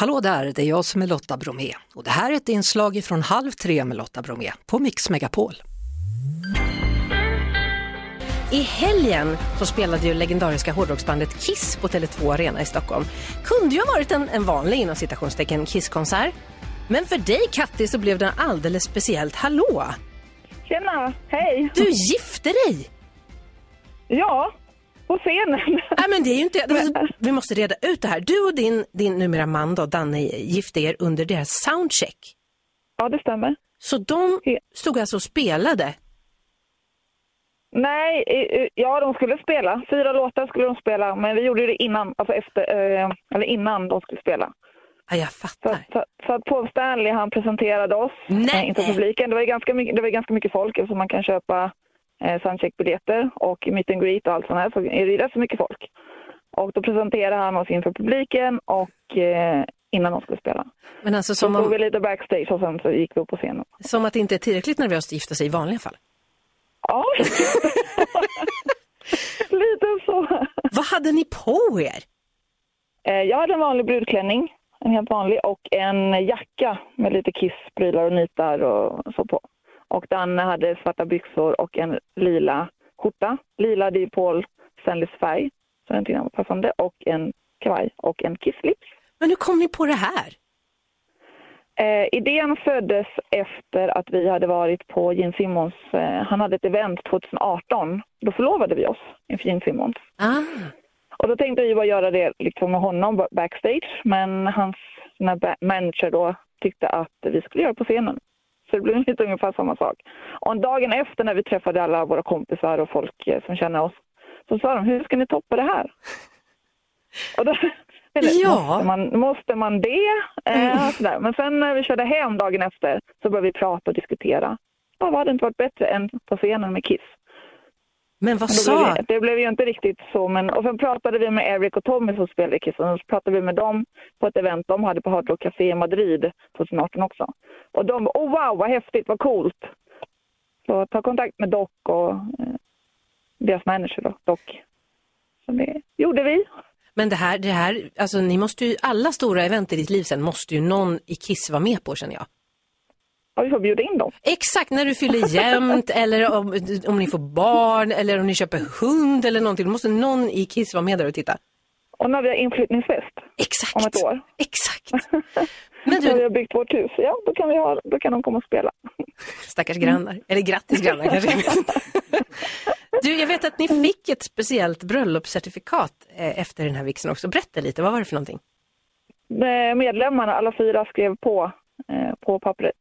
Hallå där, det är jag som är Lotta Bromé och det här är ett inslag från Halv tre med Lotta Bromé på Mix Megapol. I helgen så spelade ju legendariska hårdrocksbandet Kiss på Tele2 Arena i Stockholm. Kunde ju ha varit en, en vanlig inom citationstecken Kiss-konsert. Men för dig Katti så blev det en alldeles speciellt hallå. Tjena, hej! Du gifte dig! Ja, på scenen. Nej men det är ju inte, alltså, vi måste reda ut det här. Du och din, din numera man då, Danne gifte er under deras soundcheck. Ja, det stämmer. Så de stod alltså och spelade. Nej, eh, eh, ja de skulle spela. Fyra låtar skulle de spela, men vi gjorde det innan, alltså efter, eh, eller innan de skulle spela. Ja, jag Så, fattar. att- så, så att Paul Stanley han presenterade oss, Nej. eh, inte publiken. Det var ju ganska mycket, det var ju ganska mycket folk eftersom man kan köpa eh, soundcheckbiljetter och meet and greet och allt sånt här så är det ju rätt så mycket folk. Och då presenterade han oss inför publiken och eh, innan de skulle spela. Men alltså Så som, stod vi om, lite backstage och sen så gick vi upp på scenen. som att det inte är tillräckligt nervöst att gifta sig i vanliga fall. Ja, lite så. Vad hade ni på er? Eh, Jag hade en vanlig brudklänning, en helt vanlig, och en jacka med lite kissprylar och nitar och så på. Och Danne hade svarta byxor och en lila skjorta. Lila, det är ju Paul Stanleys färg, så den tyckte han var passande. Och en kavaj och en kisslips. Men hur kom ni på det här? Eh, idén föddes efter att vi hade varit på Gene Simmons, eh, han hade ett event 2018. Då förlovade vi oss inför Gene Simmons. Ah, Och då tänkte vi bara göra det liksom med honom ba- backstage, men hans sina ba- manager då tyckte att vi skulle göra det på scenen. Så det blev lite ungefär samma sak. Och dagen efter när vi träffade alla våra kompisar och folk eh, som känner oss, så sa de, hur ska ni toppa det här? Och då, eller, Ja. måste, man, måste man det? Eh, sådär. Men sen när vi körde hem dagen efter så började vi prata och diskutera. Ja, vad hade inte varit bättre än på scenen med Kiss? men vad Men då blev sa... det, det blev ju inte riktigt så, men och sen pratade vi med Eric och Tommy som spelade i Kiss och så pratade vi med dem på ett event de hade på Hard Rock Café i Madrid 2018 också. Och de bara, oh wow, vad häftigt, vad coolt. Så ta kontakt med Doc och eh, deras manager då, Doc. Så det gjorde vi. Men det här, det här, alltså ni måste ju, alla stora event i ditt liv sen måste ju någon i Kiss vara med på känner jag. Ja, vi får bjuda in dem. Exakt, när du fyller jämnt eller om, om ni får barn eller om ni köper hund eller någonting, då måste någon i Kiss vara med där och titta. Och när vi har inflyttningsfest, Exakt! Om ett år. Exakt! Men när vi du, har byggt vårt hus, ja då kan, vi ha, då kan de komma och spela. stackars grannar, eller grattis grannar kanske. jag vet inte. Du, jag vet att ni Mm. fick ett speciellt bröllopscertifikat eh, efter den här vigseln också. Berätta lite, vad var det för någonting? Eh, medlemmarna, alla fyra, skrev på eh, på pappret.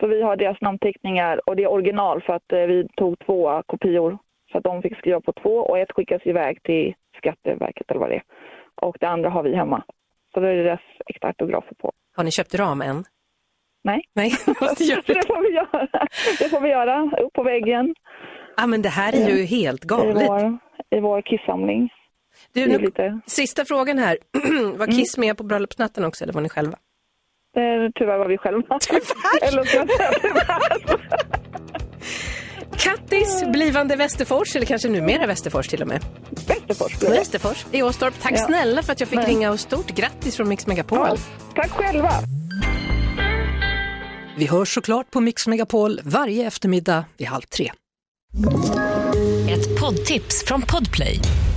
Så vi har deras namnteckningar och det är original för att eh, vi tog två kopior. Så att de fick skriva på två och ett skickas iväg till Skatteverket eller vad det är. Och det andra har vi hemma. Så då är det deras äkta autografer på. Har ni köpt ram än? Nej, Nej, måste göra så det. det får vi göra. Det får vi göra. Upp på väggen Ja, men det här är ju helt i galet. vår, i vår kissamling. Du, Det är nu, lite, sista frågan här. var Kiss med på bröllopsnatten också eller var ni själva? eh, tyvärr var vi själva. Tyvärr? Eller så, Kattis, blivande Västerfors, eller kanske numera Västerfors till och med. Västerfors blev det. Västerfors i Åstorp. Tack Ja. snälla för att jag fick Nej. ringa och stort grattis från Mix Megapol. Ja, Tack själva. Vi hörs såklart på Mix Megapol varje eftermiddag vid halv tre. Ett poddtips från Podplay.